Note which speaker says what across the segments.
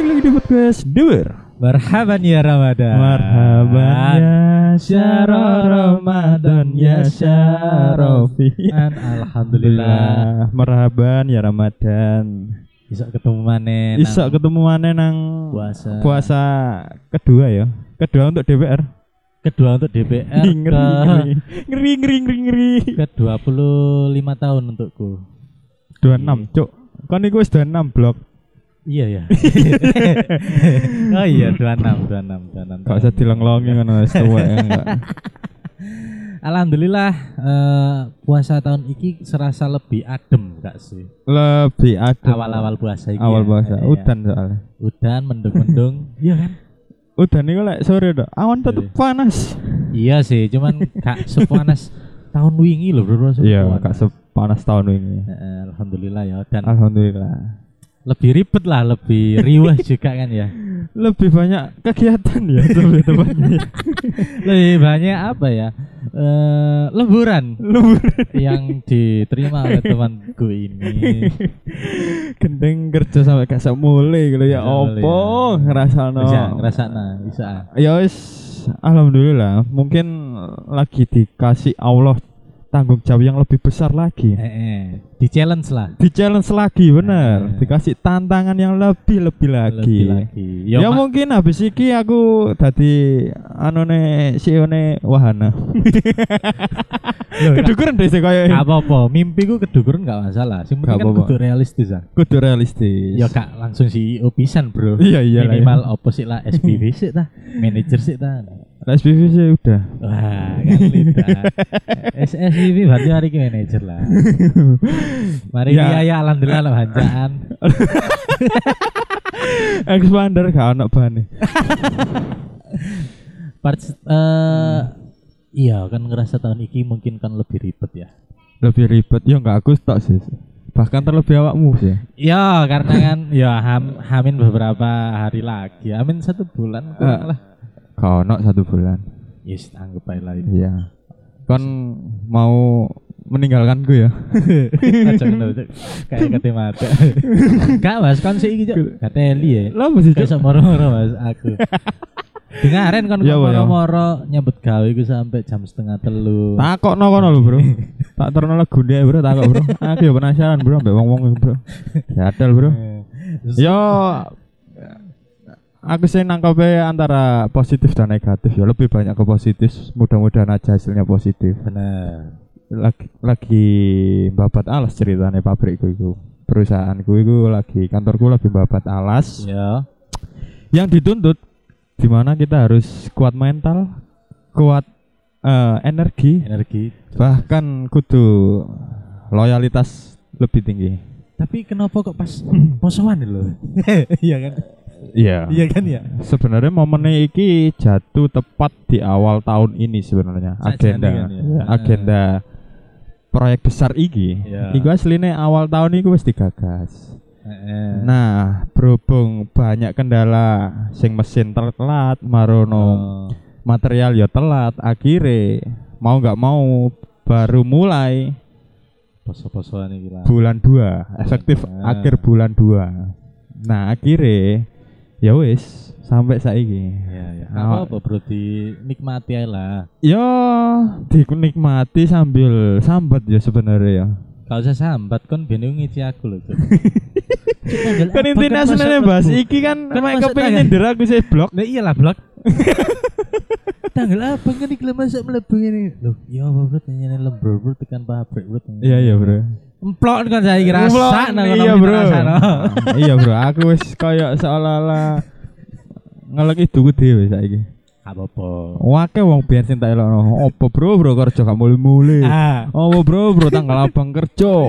Speaker 1: podcast Duer.
Speaker 2: Marhaban ya Ramadan.
Speaker 1: Marhaban ya Syaro Ramadan ya Syarofi.
Speaker 2: Dan Alhamdulillah.
Speaker 1: Marhaban ya Ramadan.
Speaker 2: Bisa ketemu maneh. nang
Speaker 1: Isak ketemu mana nang
Speaker 2: puasa.
Speaker 1: puasa kedua ya. Kedua untuk DPR.
Speaker 2: kedua untuk DPR
Speaker 1: Ngeri ngeri
Speaker 2: ke
Speaker 1: ngeri ngeri ngeri ngeri.
Speaker 2: ke 25 tahun untukku.
Speaker 1: Dua enam cok. Kan iku wis dua enam blok.
Speaker 2: Iya ya. oh iya 26 26 26.
Speaker 1: Gak usah dilonglongi ngono wis tuwek ya, enggak.
Speaker 2: Alhamdulillah eh, puasa tahun ini serasa lebih adem gak sih?
Speaker 1: Lebih adem.
Speaker 2: Awal-awal puasa ini.
Speaker 1: awal puasa.
Speaker 2: Udan.
Speaker 1: Udan soalnya.
Speaker 2: Udan mendung-mendung. Iya kan?
Speaker 1: Udan iku lek sore tok. Awan tetep panas.
Speaker 2: Iya sih, cuman gak sepanas tahun wingi loh bro. sepanas.
Speaker 1: Iya, gak sepanas tahun ini.
Speaker 2: Heeh, Alhamdulillah ya dan
Speaker 1: Alhamdulillah.
Speaker 2: lebih ribet lah, lebih riwah juga kan ya.
Speaker 1: lebih banyak kegiatan ya lebih tepatnya ya.
Speaker 2: Lebih banyak apa ya? Eh leburan
Speaker 1: Luburan
Speaker 2: yang diterima oleh temanku ini.
Speaker 1: gendeng kerja sampai gak semule gitu ya
Speaker 2: Gak semule,
Speaker 1: opo
Speaker 2: ya.
Speaker 1: ngerasano
Speaker 2: Iya, Bisa ngerasana, bisa.
Speaker 1: ya wis alhamdulillah mungkin lagi dikasih Allah tanggung jawab yang lebih besar lagi
Speaker 2: Eh, di challenge lah.
Speaker 1: di challenge lagi bener
Speaker 2: Eh.
Speaker 1: dikasih tantangan yang lebih lebih lagi,
Speaker 2: Lebih lagi. Ya,
Speaker 1: Ya,
Speaker 2: Mak,
Speaker 1: mungkin habis iki aku tadi anone CEO ne wahana.
Speaker 2: Oh, loh, gak-
Speaker 1: Kedukuran deh sih kayak
Speaker 2: gak apa-apa, mimpiku kedukuran gak masalah. Sing penting
Speaker 1: Gak
Speaker 2: kan
Speaker 1: apa-apa.
Speaker 2: kudu realistis ah.
Speaker 1: kudu realistis.
Speaker 2: Ya kak langsung CEO pisan, Bro.
Speaker 1: Iya iya lah ya.
Speaker 2: Minimal opo sih lah SPV sih ta, manajer sih ta.
Speaker 1: Lah, SPV sih udah.
Speaker 2: Wah, kan lita. SSVP berarti hari ini manajer lah. Mari
Speaker 1: Ya.
Speaker 2: ya, ya alhamdulillah lah hancaan.
Speaker 1: Expander gak ono bane.
Speaker 2: Parts eh iya kan ngerasa tahun ini mungkin kan lebih ribet ya.
Speaker 1: Lebih ribet ya enggak aku tak sih. Bahkan terlebih awakmu sih.
Speaker 2: Ya karena kan ya ham, hamin beberapa hari lagi, hamin satu bulan kurang
Speaker 1: Eh.
Speaker 2: lah.
Speaker 1: Gak ono satu bulan.
Speaker 2: Yes, anggap aja lah ini.
Speaker 1: Iya. Kon mau meninggalkanku ya.
Speaker 2: Aja ngono, Cuk. kayak kate mata. Enggak Mas, kon sik iki Cuk. Kateli ya.
Speaker 1: Lah mesti
Speaker 2: Gak
Speaker 1: Cuk?
Speaker 2: usah moro-moro mas aku Dengarin kan
Speaker 1: Iya,
Speaker 2: kok
Speaker 1: Pak, ya.
Speaker 2: moro-moro nyambut gawe ku sampai jam setengah telu
Speaker 1: Takokno kono lho, Bro. Tak terno legune ae, Bro, takok, Bro. Aku ya penasaran, Bro, mbek wong-wong Bro. Jadal, Bro.
Speaker 2: Terus-
Speaker 1: Yo Ya. aku sih nangkepnya antara positif dan negatif ya lebih banyak ke positif mudah-mudahan aja hasilnya positif
Speaker 2: Bener
Speaker 1: lagi lagi babat alas ceritanya pabrikku itu perusahaanku itu lagi kantorku lagi babat alas
Speaker 2: Ya
Speaker 1: yang dituntut dimana kita harus kuat mental kuat eh, energi
Speaker 2: energi
Speaker 1: bahkan kudu loyalitas lebih tinggi
Speaker 2: Tapi kenapa kok pas posoan lho Iya kan
Speaker 1: iya
Speaker 2: Iya kan ya
Speaker 1: sebenarnya momennya iki jatuh tepat di awal tahun ini sebenarnya
Speaker 2: Sajane
Speaker 1: agenda
Speaker 2: kan ya.
Speaker 1: Iya, agenda proyek besar iki
Speaker 2: Iya.
Speaker 1: iku aslinya awal tahun iku wis digagas
Speaker 2: Nah
Speaker 1: Nah, berhubung banyak kendala sing mesin telat,
Speaker 2: Nah, Oh.
Speaker 1: marono material ya telat, akhirnya mau nggak mau baru mulai
Speaker 2: Poso-posoan ini lah
Speaker 1: bulan 2, efektif
Speaker 2: Ah.
Speaker 1: akhir bulan 2. Nah, akhirnya ya wis sampai saiki.
Speaker 2: Iya ya
Speaker 1: Nah,
Speaker 2: Apa apa bro dinikmati aja lah
Speaker 1: Ya dinikmati sambil sambat ya sebenarnya ya.
Speaker 2: Gak usah sambat kon bener ngeci aku lho Cuk.
Speaker 1: Kan
Speaker 2: Cuk, apa
Speaker 1: intinya
Speaker 2: masuk
Speaker 1: sebenarnya bahas
Speaker 2: lebu?
Speaker 1: iki kan mek
Speaker 2: Kan masuk
Speaker 1: kepengin
Speaker 2: tangan.
Speaker 1: nyender aku sih blok.
Speaker 2: Lah iyalah blok. Tanggal apa kan iki masak mlebu ngene. Loh, ya apa bro nyene lembur bro tekan pabrik bro.
Speaker 1: Iya iya, Bro.
Speaker 2: Emplok kan saya kira
Speaker 1: Ngeblok,
Speaker 2: rasa nang
Speaker 1: iya bro iya bro aku wis kayak seolah-olah ngelek iduku dhewe saiki
Speaker 2: Apa-apa.
Speaker 1: wake wong biyen sing tak elokno opo bro bro kerja gak mule-mule
Speaker 2: Ah. iya.
Speaker 1: opo bro bro tanggal abang kerja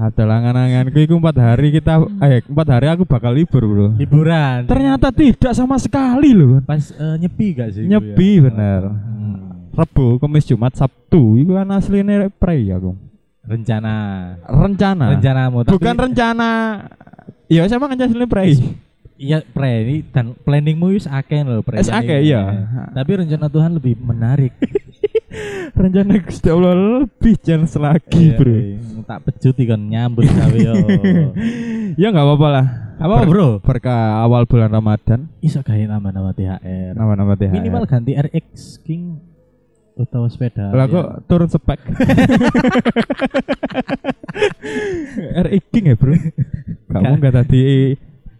Speaker 1: ada langan-langanku iku 4 hari kita eh 4 hari aku bakal libur bro
Speaker 2: Liburan.
Speaker 1: ternyata tidak sama sekali loh
Speaker 2: pas eh, nyepi gak sih?
Speaker 1: nyepi bener
Speaker 2: Hmm.
Speaker 1: Rebo, Kamis, Jumat, Sabtu Iku kan aslinya prei aku
Speaker 2: Rencana. Nah.
Speaker 1: Rencana
Speaker 2: Rencanamu tapi-
Speaker 1: Bukan rencana Ya saya emang aslinya prei
Speaker 2: Iya, pre ini dan planningmu wis akeh lho, pre.
Speaker 1: Wis akeh, iya.
Speaker 2: Tapi rencana Tuhan lebih menarik.
Speaker 1: rencana Gusti Allah lebih chance lagi bro
Speaker 2: Iya, iya. Tak pejuti kan nyambut gawe yo.
Speaker 1: ya nggak apa-apa lah
Speaker 2: Apa
Speaker 1: Ber-
Speaker 2: bro?
Speaker 1: berkah awal bulan Ramadan
Speaker 2: Iso gawe nama-nama THR.
Speaker 1: nama-nama THR
Speaker 2: Minimal ganti RX King atau sepeda.
Speaker 1: lah
Speaker 2: ya.
Speaker 1: kok turun spek RX King ya bro kamu nggak tadi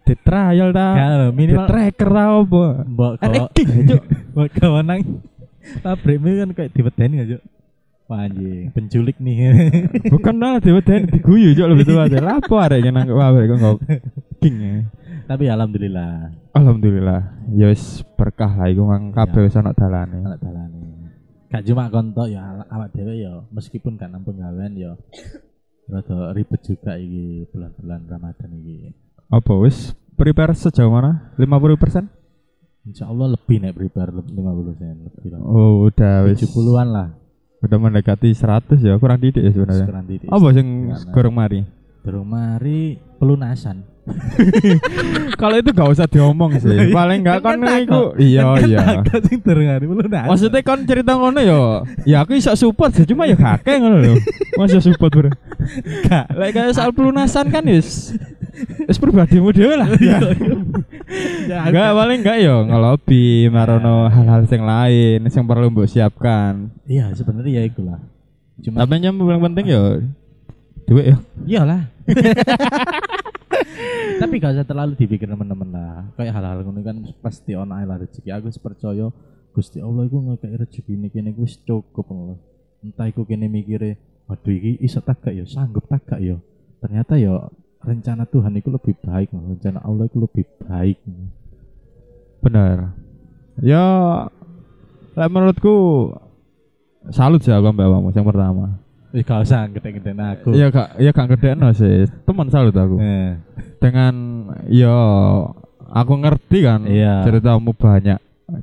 Speaker 1: di trial ta di
Speaker 2: Kalau Ya. minimal
Speaker 1: tracker ta apa
Speaker 2: mbok
Speaker 1: RX
Speaker 2: kalau
Speaker 1: King Cuk.
Speaker 2: mbok kalau nang pabrik ini kan kayak dibedeni aja. Wah anjing, penculik nih.
Speaker 1: bukan lah dewa dan diguyu cok lebih tua aja lapo areknya nang pabrik kok nggak King ya
Speaker 2: Tapi alhamdulillah
Speaker 1: Alhamdulillah ya wis berkah lah iku mang kabeh wis ana dalane
Speaker 2: anak dalane. Gak cuma kontok ya ala- awak dhewe ya meskipun gak nampun gawean ya rada ribet juga iki bulan-bulan Ramadan iki.
Speaker 1: apa wis prepare sejauh mana 50%
Speaker 2: Insya Allah lebih nek prepare leb- 50 sen lebih lah.
Speaker 1: oh udah wis
Speaker 2: 70-an lah
Speaker 1: udah mendekati 100 ya kurang didik ya sebenarnya
Speaker 2: sekarang titik.
Speaker 1: apa sing
Speaker 2: Karena-
Speaker 1: gorong mari
Speaker 2: Terus mari pelunasan.
Speaker 1: kalau itu gak usah diomong sih paling gak
Speaker 2: Kan
Speaker 1: kon
Speaker 2: takut.
Speaker 1: iku iya iya
Speaker 2: Agak sing durung hari pelunasan.
Speaker 1: maksudnya kon cerita ngono yo ya aku iso support sih cuma ya kakek ngono lho masa support bro
Speaker 2: Gak.
Speaker 1: Lek kayak soal pelunasan kan wis wis pribadimu dhewe lah. Oh,
Speaker 2: Iya.
Speaker 1: Enggak paling enggak yo ngelobi marono hal-hal sing lain sing perlu mbok siapkan.
Speaker 2: Iya, sebenarnya ya iku lah. Cuma
Speaker 1: Tapi yang paling penting yo duit ya. yo.
Speaker 2: iyalah. Tapi gak usah terlalu dipikir teman-teman lah. Kayak hal-hal ngono kan pasti ono ae lah rezeki. Aku wis percaya Gusti Allah iku ngekek rezeki ini kene iku wis cukup ngono. lho. Entah iku kene mikire, waduh iki iso tak gak ya, sanggup tak gak ya. Ternyata ya rencana Tuhan itu lebih baik, lho. rencana Allah itu lebih baik.
Speaker 1: Bener. Ya lek menurutku salut sih aku mbak awakmu yang pertama.
Speaker 2: Wis Ya gak usah gede-gede aku.
Speaker 1: Ya kak, ya kak gedekno sih. Teman salut aku.
Speaker 2: Eh,
Speaker 1: dengan yo aku ngerti kan
Speaker 2: Iya.
Speaker 1: ceritamu banyak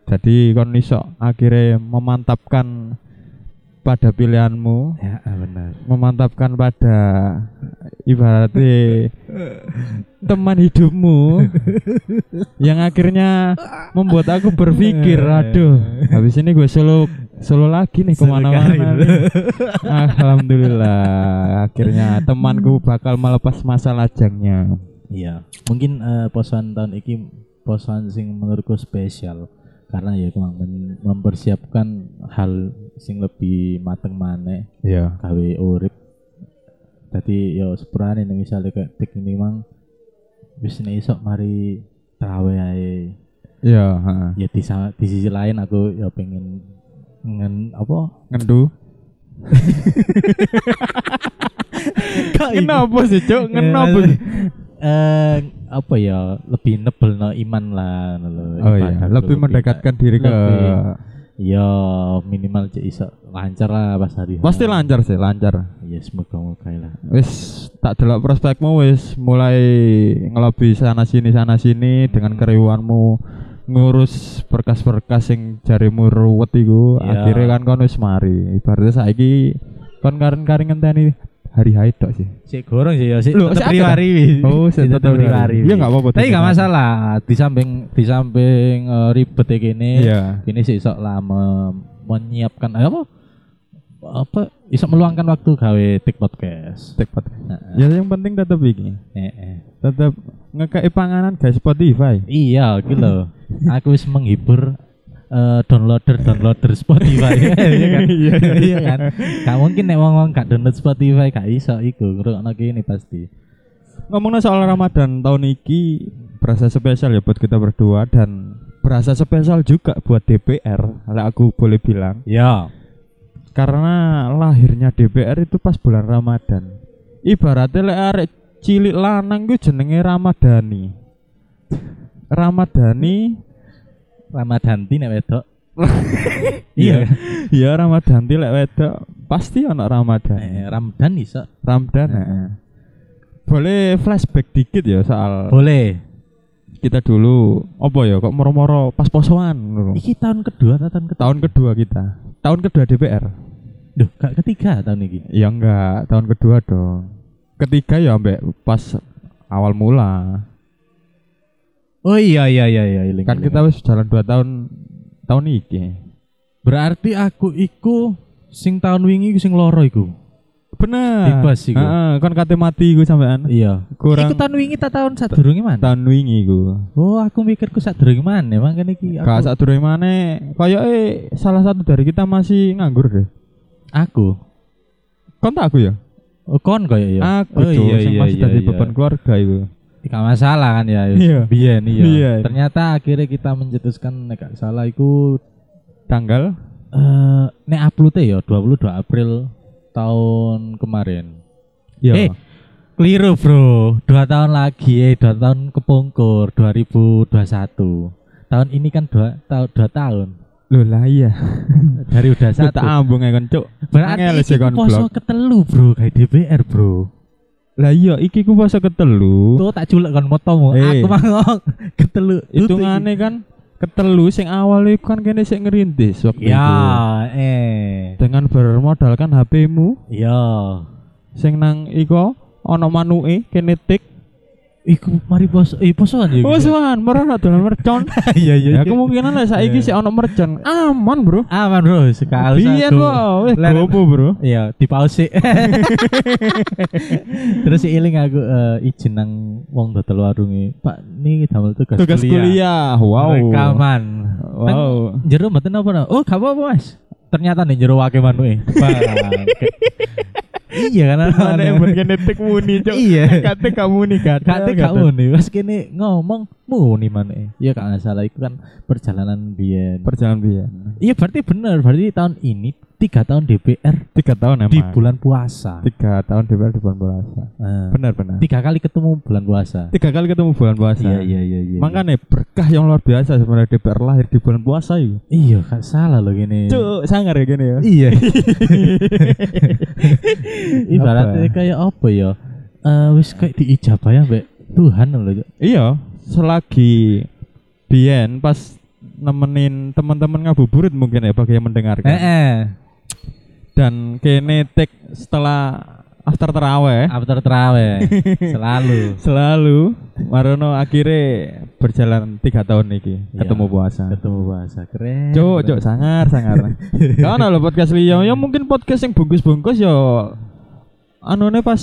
Speaker 1: jadi kon iso akhirnya memantapkan pada pilihanmu
Speaker 2: ya benar.
Speaker 1: memantapkan pada ibaratnya teman hidupmu yang akhirnya membuat aku berpikir aduh habis ini gue solo solo lagi nih kemana-mana gitu.
Speaker 2: Solo karir.
Speaker 1: nih." alhamdulillah akhirnya temanku bakal melepas masa lajangnya
Speaker 2: Iya, mungkin eh, posan tahun ini posan sing menurutku spesial karena ya emang men- mempersiapkan hal sing lebih mateng maneh
Speaker 1: Iya.
Speaker 2: gawe urip. ya Tadi yo sepurane nih misalnya kayak tik ini mang wis nek isok mari trawe ae.
Speaker 1: Iya, heeh.
Speaker 2: Ya di, sa- di sisi lain aku ya pengen ngen apa?
Speaker 1: Ngendu. Kenapa sih, Cok? Kenapa sih?
Speaker 2: Iya, Eh apa ya lebih nebel no gitu. iman lah ngono lho.
Speaker 1: Oh iya,
Speaker 2: Ibadah
Speaker 1: lebih
Speaker 2: ku
Speaker 1: mendekatkan diri ke
Speaker 2: Lebih. Ya minimal cek iso lancar lah pas hari. H.
Speaker 1: Pasti lancar sih, lancar.
Speaker 2: Ya semoga moga lah.
Speaker 1: Wis tak delok prospekmu wis mulai ngelobi sana sini sana sini dengan keriuanmu ngurus berkas-berkas sing jarimu ruwet iku
Speaker 2: Iya.
Speaker 1: akhirnya kan kon wis mari ibaratnya saiki kon karen-karen ngenteni hari haid tok sih
Speaker 2: Sik gorong sih ya sik
Speaker 1: Loh, sik
Speaker 2: tetep
Speaker 1: ada
Speaker 2: riwari. wi.
Speaker 1: Oh, sik
Speaker 2: Sik
Speaker 1: tetep riwari.
Speaker 2: wi.
Speaker 1: Iya, nggak apa-apa,
Speaker 2: Tapi
Speaker 1: tetep
Speaker 2: nggak
Speaker 1: riwari.
Speaker 2: masalah. Di samping di samping eh, ribet kayak gini.
Speaker 1: iya
Speaker 2: Gini sih iso lah mem- menyiapkan eh, apa? Apa iso meluangkan waktu gawe tik podcast.
Speaker 1: Take part.
Speaker 2: Heeh.
Speaker 1: ya yang penting tetep iki
Speaker 2: Eh, eh.
Speaker 1: tetep ngekei panganan guys Spotify
Speaker 2: Iya, gitu loh. Aku wis menghibur eh, downloader downloader Spotify iya kan
Speaker 1: Iya.
Speaker 2: iya kan gak mungkin nek wong-wong gak download Spotify gak iso iku ngrungokno kene pasti
Speaker 1: Ngomongnya soal Ramadan tahun ini berasa spesial ya buat kita berdua dan berasa spesial juga buat DPR, lah aku boleh bilang.
Speaker 2: ya
Speaker 1: Karena lahirnya DPR itu pas bulan Ramadan. Ibaratnya lek arek cilik lanang gue jenenge Ramadhani. Ramadhani,
Speaker 2: Ramadanti nek wedok iya
Speaker 1: ya Ramadhanti lek wedok pasti anak Ramadhani.
Speaker 2: Eh, Ramdan iso
Speaker 1: Ramdan. Boleh flashback dikit ya soal
Speaker 2: boleh
Speaker 1: kita dulu apa ya kok moro-moro pas posoan ngono.
Speaker 2: iki tahun kedua atau tahun ketiga
Speaker 1: tahun kedua kita tahun kedua DPR
Speaker 2: Duh, gak ketiga tahun ini
Speaker 1: ya enggak tahun kedua dong ketiga ya ambek pas awal mula
Speaker 2: oh iya iya iya iya iling,
Speaker 1: kan
Speaker 2: iling.
Speaker 1: kita wis jalan dua tahun tahun iki
Speaker 2: berarti aku iku sing tahun wingi iku sing loro iku
Speaker 1: Bener.
Speaker 2: Bebas iku.
Speaker 1: Heeh, kon kate mati iku sampean.
Speaker 2: Iya.
Speaker 1: Kurang
Speaker 2: Iku tahun wingi ta tahun sadurunge mana?
Speaker 1: tahun wingi iku.
Speaker 2: Oh, aku mikirku sadurunge mana, mangkene iki
Speaker 1: Kak
Speaker 2: aku.
Speaker 1: sak durunge maneh koyoke salah satu dari kita masih nganggur deh.
Speaker 2: Aku.
Speaker 1: Kon tak aku ya?
Speaker 2: Oh, kon koyo ya.
Speaker 1: Aku iya,
Speaker 2: oh,
Speaker 1: tuh sing masih dari beban keluarga iku.
Speaker 2: Gak masalah kan ya.
Speaker 1: Iya.
Speaker 2: Biyen iya.
Speaker 1: Biyen.
Speaker 2: Ternyata akhirnya kita mencetuskan nek gak salah iku
Speaker 1: Tanggal
Speaker 2: eh nek upload ya 22 April tahun kemarin.
Speaker 1: Iya.
Speaker 2: Eh, keliru bro. Dua tahun lagi, eh dua tahun kepungkur 2021. Tahun ini kan dua, ta dua tahun
Speaker 1: Lho lah iya.
Speaker 2: dari udah
Speaker 1: Saya tak
Speaker 2: satu.
Speaker 1: ambung ya kon cuk. Angel
Speaker 2: Berarti
Speaker 1: sih
Speaker 2: iki
Speaker 1: kon
Speaker 2: poso
Speaker 1: blok.
Speaker 2: ketelu bro, kayak DPR bro.
Speaker 1: Lah iya iki ku poso ketelu.
Speaker 2: Tuh tak culek kon motomu.
Speaker 1: Eh.
Speaker 2: Aku mangok ketelu.
Speaker 1: Hitungane kan ketelu sing awal iku kan kene sing ngerintis waktu
Speaker 2: Ya,
Speaker 1: itu.
Speaker 2: eh.
Speaker 1: Dengan bermodalkan HP-mu
Speaker 2: Ya.
Speaker 1: sing nang iku ana manuke kene tik.
Speaker 2: Iku mari poso, eh posoan ya.
Speaker 1: Wes wan, merana dolan mercon.
Speaker 2: Iya
Speaker 1: Ya
Speaker 2: iya. iya.
Speaker 1: kemungkinan lah saiki sik ana mercon. Aman, Bro.
Speaker 2: aman bro, sekali
Speaker 1: Biyen kok wis
Speaker 2: Lah,
Speaker 1: gopo, Bro.
Speaker 2: Iya, di pause. Terus iling aku eh, izin nang wong dodol warunge. Pak, niki damel tugas,
Speaker 1: Tugas kuliah. Wow.
Speaker 2: Rekaman. Teng-
Speaker 1: Wow.
Speaker 2: Jero mboten apa no? Oh, gak apa-apa, Mas. Ternyata nih jero wake manuke. Bangke. Iya kan
Speaker 1: Mana yang bergenetik muni, Cok.
Speaker 2: Iya.
Speaker 1: Kate kamu nih, Kak.
Speaker 2: Kate Iya, gak muni, wes kene ngomong muni manuke. Iya gak masalah iku kan perjalanan biyen.
Speaker 1: Perjalanan biyen.
Speaker 2: Iya berarti bener, berarti tahun ini tiga tahun
Speaker 1: 3
Speaker 2: DPR
Speaker 1: tahun emang.
Speaker 2: di bulan puasa.
Speaker 1: 3 tahun DPR di bulan puasa.
Speaker 2: Eh.
Speaker 1: Benar, benar.
Speaker 2: tiga kali ketemu bulan puasa.
Speaker 1: 3 Nah. kali ketemu bulan puasa.
Speaker 2: iya iya.
Speaker 1: Makanya berkah yang luar biasa sebenarnya DPR lahir di bulan puasa itu.
Speaker 2: iya gak salah loh gini.
Speaker 1: Cuk, sangar ya gini ya.
Speaker 2: Iya. Ibaratnya kayak apa ya? Eh wis kayak diijabah ya mbak Tuhan loh. Cuk.
Speaker 1: Iya, selagi Bian pas nemenin teman-teman ngabuburit mungkin ya bagi yang mendengarkan.
Speaker 2: Eh eh.
Speaker 1: Dan kene tek setelah after teraweh
Speaker 2: After teraweh selalu
Speaker 1: selalu Marono akhirnya berjalan tiga tahun iki
Speaker 2: Iya.
Speaker 1: ketemu puasa.
Speaker 2: ketemu puasa keren.
Speaker 1: Cuk, cuk sangar sangar. Kan lho podcast liya, ya mungkin podcast yang bungkus-bungkus ya anone pas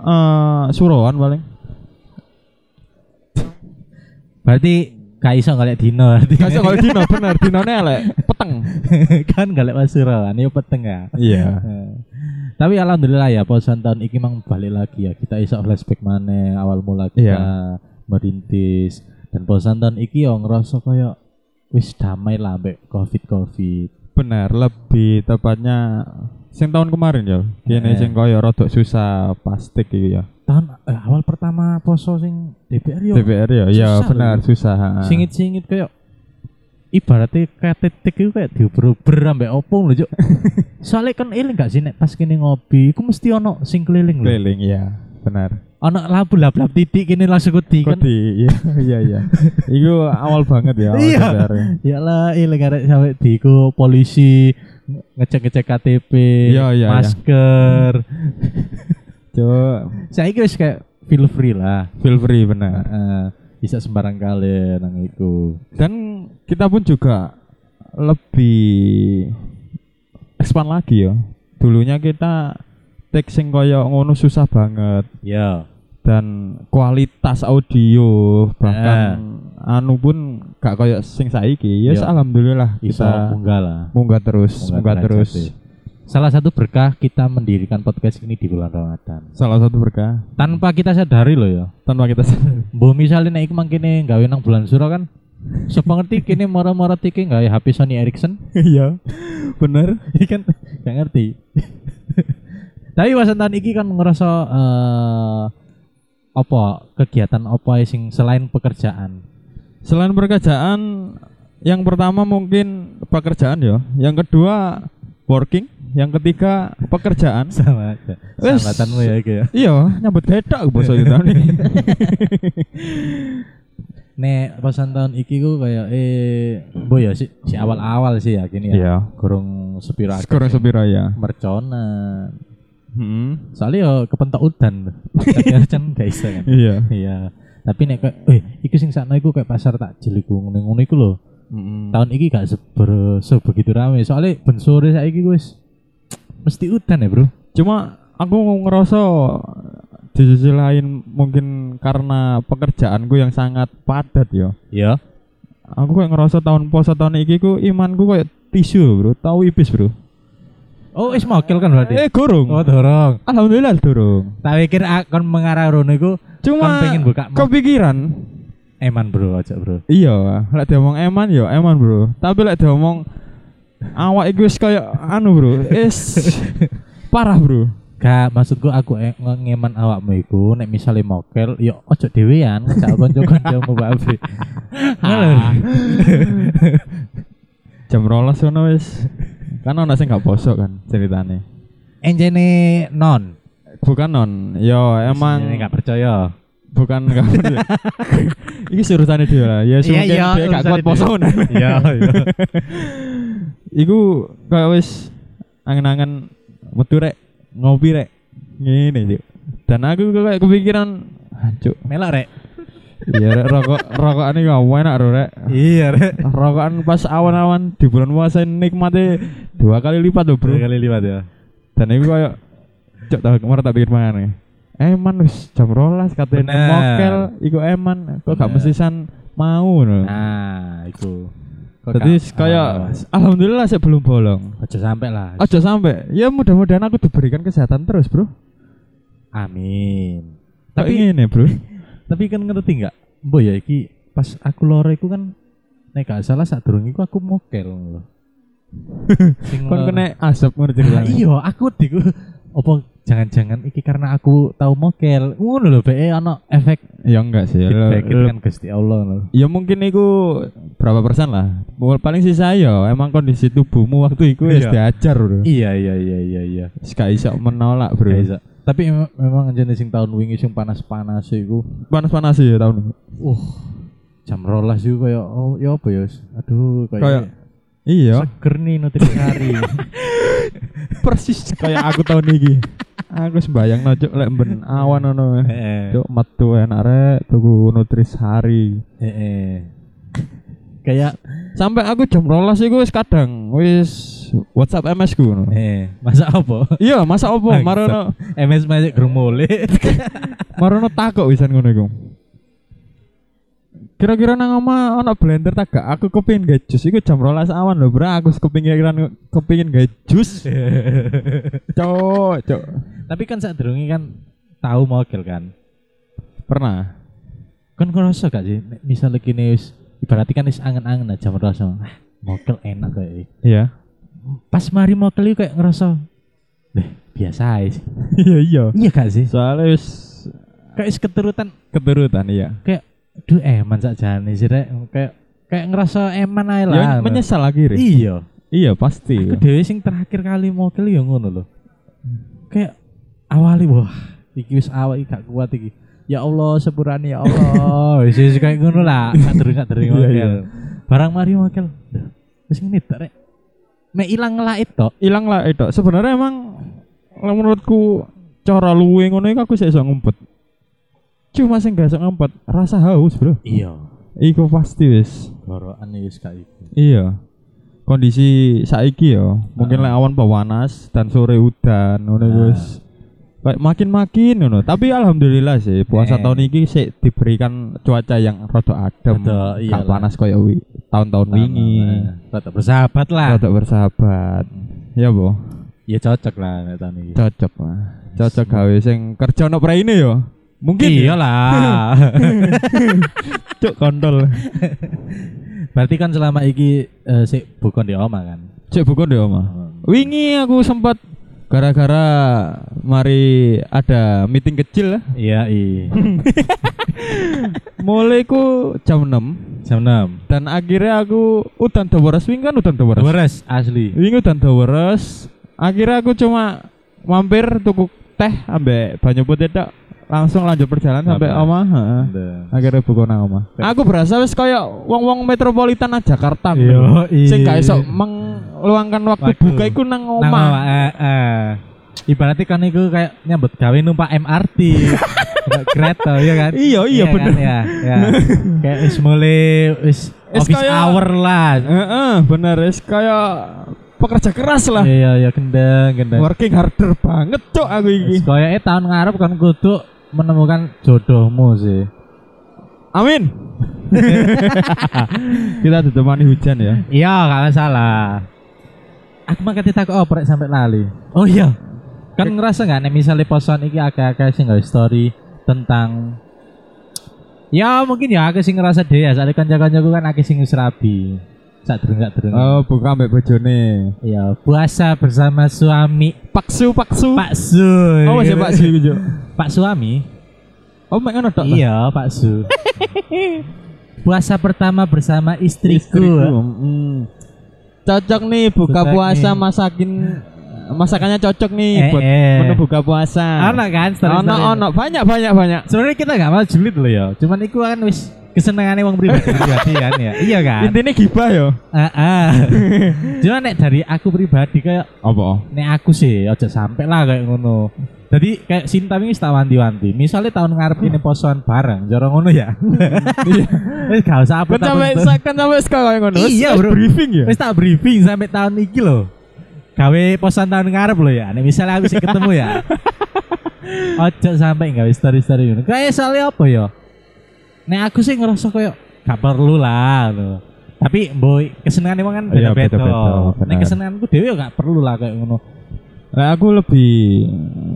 Speaker 1: eh suruhan paling.
Speaker 2: Berarti gak iso ngalek dino. berarti.
Speaker 1: Kasih kalau dino bener dinone elek peteng.
Speaker 2: kan ngalek pasuruan yo peteng ya.
Speaker 1: Iya.
Speaker 2: Eh, Tapi alhamdulillah ya posan tahun ini mang balik lagi ya kita iso flashback mana awal mula kita merintis dan posan tahun ini yo ngerasa kayak wis damai lah mbek covid covid
Speaker 1: Bener, lebih tepatnya sing tahun kemarin ya. Kene
Speaker 2: Eh.
Speaker 1: sing koyo rodok susah plastik iki ya.
Speaker 2: tahun eh, awal pertama poso sing DPR yo
Speaker 1: DPR ya, ya
Speaker 2: susah
Speaker 1: benar
Speaker 2: lho.
Speaker 1: susah. ha.
Speaker 2: singit singit kayak ibaratnya kayak titik itu kayak diuber-uber ambek opung lho Cuk. soalnya kan eling gak sih nek pas kini ngopi iku mesti ono sing keliling lho
Speaker 1: keliling ya, benar.
Speaker 2: ono labu lap-lap titik kini langsung kudi kan
Speaker 1: Kodi, iya iya iya. Iku awal banget ya awal
Speaker 2: Iya.
Speaker 1: DPR. -nya.
Speaker 2: Ya lah, ini karek sampai diiku polisi ngecek-ngecek KTP,
Speaker 1: Iya, iya,
Speaker 2: masker.
Speaker 1: Cuk,
Speaker 2: Saya kira kayak feel free lah.
Speaker 1: feel free benar.
Speaker 2: Heeh. bisa sembarang kali nang iku.
Speaker 1: dan kita pun juga lebih expand lagi ya dulunya kita take sing koyo ngono susah banget
Speaker 2: Ya.
Speaker 1: dan kualitas audio bahkan anu pun gak koyo sing saiki ya yes,
Speaker 2: Yo.
Speaker 1: alhamdulillah
Speaker 2: Bisa
Speaker 1: kita
Speaker 2: munggah lah.
Speaker 1: munggah terus munggah,
Speaker 2: Munggah
Speaker 1: terus
Speaker 2: derajat ya. Salah satu berkah kita mendirikan podcast ini di bulan Ramadan.
Speaker 1: salah satu berkah
Speaker 2: Tanpa kita sadari loh ya.
Speaker 1: tanpa kita sadari.
Speaker 2: Mbok misalnya nek iku mangkene gawe nang bulan suro kan. Sepengerti kini moro-moro tiki gawe HP Sony Ericsson.
Speaker 1: iya bener
Speaker 2: Ini kan gak ngerti. Tapi wasan tahun iki kan ngerasa eh apa kegiatan apa sing selain pekerjaan.
Speaker 1: Selain pekerjaan, yang pertama mungkin pekerjaan ya. Yang kedua working, yang ketiga pekerjaan.
Speaker 2: Sama aja.
Speaker 1: Wes.
Speaker 2: Sambatanmu ya iki ya.
Speaker 1: Iya, nyambut beda aku bosok itu tahun ini.
Speaker 2: Nek wasan tahun iki ku kayak eh bo ya si, si awal-awal sih ya gini ya.
Speaker 1: Iya.
Speaker 2: Gorong sepira akeh
Speaker 1: Skor sepira ya.
Speaker 2: merconan.
Speaker 1: Hmm.
Speaker 2: Soalnya yo kepentok udan. Tapi kan gak iso kan.
Speaker 1: Iya.
Speaker 2: Iya. Tapi nek kayak eh iku sing sakno iku kayak pasar takjil iku ngene-ngene iku lho.
Speaker 1: Mm-mm.
Speaker 2: tahun ini gak seber sebegitu rame soalnya ben sore saiki wis mesti udan ya bro
Speaker 1: Cuma aku ngerasa di sisi lain mungkin karena pekerjaanku yang sangat padat ya
Speaker 2: Ya.
Speaker 1: aku kayak ngerasa tahun poso tahun iki ku imanku kayak tisu bro tahu ipis bro
Speaker 2: Oh, wis mokel kan berarti.
Speaker 1: eh gorong
Speaker 2: Oh, dorong.
Speaker 1: alhamdulillah dorong
Speaker 2: Tak pikir akon mengarah rono iku
Speaker 1: cuma
Speaker 2: Kan pengen buka-
Speaker 1: kepikiran
Speaker 2: eman, Bro, aja, Bro.
Speaker 1: iya lek diomong eman ya eman bro tapi lek diomong awak iku wis kayak anu bro is parah bro
Speaker 2: Gak, maksudku aku e- nge- ngeman awakmu iku nek misalnya mokel, ya ojo dhewean, gak kanca-kancamu babe.
Speaker 1: Ah. jam rolas ngono wis kan ono sing gak poso kan ceritane
Speaker 2: Enjene non.
Speaker 1: bukan non yo emang
Speaker 2: Enjene gak percaya.
Speaker 1: bukan gak percaya. iki urusannya dia lah ya
Speaker 2: Iya,
Speaker 1: mungkin
Speaker 2: iya,
Speaker 1: dia gak kuat
Speaker 2: urusannya
Speaker 1: poso
Speaker 2: dia.
Speaker 1: ngono.
Speaker 2: Iya, iya.
Speaker 1: iku kayak wis angen-angen metu rek ngopi rek ngene Cuk. dan aku kayak kepikiran hancuk
Speaker 2: Melok, Rek.
Speaker 1: iya rek rokok rokokan iki gak enak Bro, rek
Speaker 2: Iya, Rek.
Speaker 1: rokokan pas awan-awan di bulan puasa nikmatnya dua kali lipat loh bro
Speaker 2: Dua kali lipat ya.
Speaker 1: dan itu kayak cok tahu kemarin tak pikir mana eman wis jam rolas katanya
Speaker 2: Bener.
Speaker 1: mokel iku eman kok gak
Speaker 2: Bener.
Speaker 1: mesisan mau no
Speaker 2: Nah, itu. Kok
Speaker 1: jadi
Speaker 2: gak-
Speaker 1: kayak
Speaker 2: Ah.
Speaker 1: alhamdulillah saya belum bolong
Speaker 2: Ojo sampai lah.
Speaker 1: aja sampai ya mudah-mudahan aku diberikan kesehatan terus bro
Speaker 2: Amin.
Speaker 1: tapi
Speaker 2: Tapi
Speaker 1: ini bro
Speaker 2: tapi kan ngerti nggak? Mbok ya iki pas aku loro iku kan nek gak salah saat durung iku aku mokel lho. Sing
Speaker 1: kon
Speaker 2: loro.
Speaker 1: kena asap ngono
Speaker 2: Lah
Speaker 1: ceritanya
Speaker 2: Iya, aku diku opo jangan-jangan iki karena aku tahu mokel. Ngono lho bae ana efek
Speaker 1: ya enggak sih lo-
Speaker 2: feedback
Speaker 1: lo-
Speaker 2: kan Gusti Allah lho.
Speaker 1: ya mungkin iku berapa persen lah paling sisa ya emang kondisi tubuhmu waktu itu ya
Speaker 2: Iya.
Speaker 1: diajar bro
Speaker 2: Iya iya iya iya iya.
Speaker 1: Wis gak iso menolak bro
Speaker 2: Gak bisa. Tapi em- memang jenis sing tahun wingi sing panas-panas iku
Speaker 1: panas-panas ya tahun ini
Speaker 2: uh jam rolas juga kayak oh ya apa ya aduh kayak,
Speaker 1: Kayak, iya
Speaker 2: seger nih nutrisari
Speaker 1: persis kayak aku tahun ini aku sembayang cuk lek ben awan ono
Speaker 2: eh
Speaker 1: cuk metu enak rek tuku nutrisari
Speaker 2: eh, eh. kayak
Speaker 1: sampai aku jam rolas iku wis kadang wis WhatsApp MS ku ngono.
Speaker 2: eh masa apa
Speaker 1: iya masa opo
Speaker 2: Bangsat.
Speaker 1: marono
Speaker 2: MS masih germole
Speaker 1: marono takok wisan ngono iku kira-kira nang oma ono blender tak gak aku kepingin gawe jus iku jam rolas awan lho bro aku kepingin kepingin gawe jus cok cok
Speaker 2: tapi kan saat kan tahu mogel kan
Speaker 1: pernah
Speaker 2: kan ngerasa gak sih Nek misalnya gini wis ibaratnya kan wis angen-angen lah jam rolas ah, mogel enak kayak ini.
Speaker 1: iya
Speaker 2: pas mari mogel itu kayak ngerasa deh biasa aja sih."
Speaker 1: iya iya
Speaker 2: iya gak sih
Speaker 1: soalnya wis
Speaker 2: kayak wis keturutan
Speaker 1: keturutan iya
Speaker 2: kayak duh eman sakjane sih rek kayak kayak ngerasa eman ae lah.
Speaker 1: Ya, menyesal akhirnya.
Speaker 2: Iya.
Speaker 1: iya pasti.
Speaker 2: Aku dhewe sing terakhir kali mokel ya ngono lho. Kayak awali wah iki wis awak iki gak kuat iki. Ya Allah sepurani ya Allah. Wis wis kayak ngono lah, gak dereng gak dereng
Speaker 1: Iya,
Speaker 2: mokel.
Speaker 1: iya.
Speaker 2: Barang mari mokel. Duh, Wis ngene tok rek. Mek ilang ngelait tok.
Speaker 1: Hilang lah itu. eh, Sebenarnya emang lah menurutku cara luwe ngono iku aku sik iso ngumpet. Cuma sing gak iso ngumpet rasa haus, Bro.
Speaker 2: Iya.
Speaker 1: Iku pasti wis.
Speaker 2: Gorokan wis gak iku.
Speaker 1: Iya. Kondisi saiki yo, mungkin lek
Speaker 2: Ah.
Speaker 1: awan panas dan sore udan ngono iku
Speaker 2: Ah.
Speaker 1: wis. Kayak makin-makin ngono. Tapi alhamdulillah sih puasa
Speaker 2: Eh.
Speaker 1: tahun iki sik diberikan cuaca yang rada adem.
Speaker 2: Rada,
Speaker 1: gak
Speaker 2: iyalah. eh.
Speaker 1: panas koyo wi- tahun-tahun wingi.
Speaker 2: Tetep bersahabat lah.
Speaker 1: Rada bersahabat. Ya, Bu.
Speaker 2: Ya cocok lah nek tahun iki.
Speaker 1: cocok lah cocok gawe sing kerja ono praine yo mungkin
Speaker 2: Iya lah.
Speaker 1: cuk kontol
Speaker 2: Berarti kan selama iki eh, sik bukan di oma kan.
Speaker 1: cek buku deh oma wingi aku sempat gara-gara mari ada meeting kecil ya. lah
Speaker 2: Iya, i.
Speaker 1: mulai ku jam 6
Speaker 2: Jam 6.
Speaker 1: dan akhirnya aku udan dawaras wingi kan udan dawaras
Speaker 2: Beres Iya. asli.
Speaker 1: wingi udan dawaras akhirnya aku cuma mampir tuku teh ambek banyu putih tok langsung lanjut perjalanan sampai
Speaker 2: Sampai.
Speaker 1: oma heeh.
Speaker 2: Nah.
Speaker 1: akhirnya buku nang omah. Aku berasa wis kaya wong-wong metropolitan nang Jakarta.
Speaker 2: Yo, i.
Speaker 1: Sing gak iso meluangkan Iya. waktu
Speaker 2: Waktu.
Speaker 1: buka iku nang
Speaker 2: Nang oma,
Speaker 1: omah.
Speaker 2: eh, eh. Ibaratnya kan iku kayak nyambut gawe numpak MRT. Numpak kereta ya kan.
Speaker 1: Iya, iya,
Speaker 2: kan,
Speaker 1: bener.
Speaker 2: ya, ya. kayak wis mulai wis
Speaker 1: Wis
Speaker 2: office
Speaker 1: kayak-
Speaker 2: hour lah.
Speaker 1: Heeh, bener wis kaya pekerja keras lah
Speaker 2: Iya iya gendeng gendeng.
Speaker 1: working harder banget cok aku ini
Speaker 2: Koyoke tahun ngarep kan kudu menemukan jodohmu sih.
Speaker 1: amin kita ditemani hujan ya
Speaker 2: Iya, kalau salah. Aku mah ketika aku oprek sampai lali. Oh iya. Kan ngerasa nggak nih misalnya posan iki agak-agak sih nggak story tentang Ya mungkin ya aku sih ngerasa deh ya soalnya kanca-kancaku kan aku sih serabi. Sak dereng sak dereng.
Speaker 1: oh buka ambek bojone
Speaker 2: Ya, puasa bersama suami
Speaker 1: paksu paksu
Speaker 2: Pak Su.
Speaker 1: oh masih paksu iki cok
Speaker 2: Pak suami.
Speaker 1: oh mek ngono tok ta?
Speaker 2: Iya, Pak Su. puasa pertama bersama
Speaker 1: Istriku,
Speaker 2: istriku.
Speaker 1: mm. cocok nih buka
Speaker 2: Cocok
Speaker 1: puasa
Speaker 2: nih.
Speaker 1: masakin masakannya cocok nih
Speaker 2: Eh,
Speaker 1: buat
Speaker 2: eh.
Speaker 1: menu buka puasa
Speaker 2: Anak kan story-story.
Speaker 1: Ah. ono ono banyak banyak banyak
Speaker 2: sebenarnya kita gak mau julid loh ya cuman itu kan wis kesenangannya wong pribadi pribadi kan ya iya kan
Speaker 1: intinya gibah ya. yo
Speaker 2: Ah, ah. cuman nek dari aku pribadi kayak
Speaker 1: apa
Speaker 2: nek aku sih aja sampai lah kayak ngono jadi kayak Sinta ini tak wanti-wanti misalnya tahun ngarep ini posoan bareng jorong ngono ya wis gak usah apa
Speaker 1: kan sampai kan sampai sekarang yang ngono wis-
Speaker 2: Iya,
Speaker 1: wis
Speaker 2: bro.
Speaker 1: briefing ya
Speaker 2: wis tak briefing sampai tahun iki loh gawe posan tahun ngarep loh ya nek misalnya aku sih ketemu ya ojo sampai gawe story story ngono kayak soalnya apa ya nek aku sih ngerasa kayak gak perlu lah ngono. tapi boy kesenangan emang kan
Speaker 1: Iya,
Speaker 2: beda beda
Speaker 1: beda-beda,
Speaker 2: nek
Speaker 1: benar.
Speaker 2: kesenanganku dewe ya gak perlu lah kayak ngono
Speaker 1: Nah, aku lebih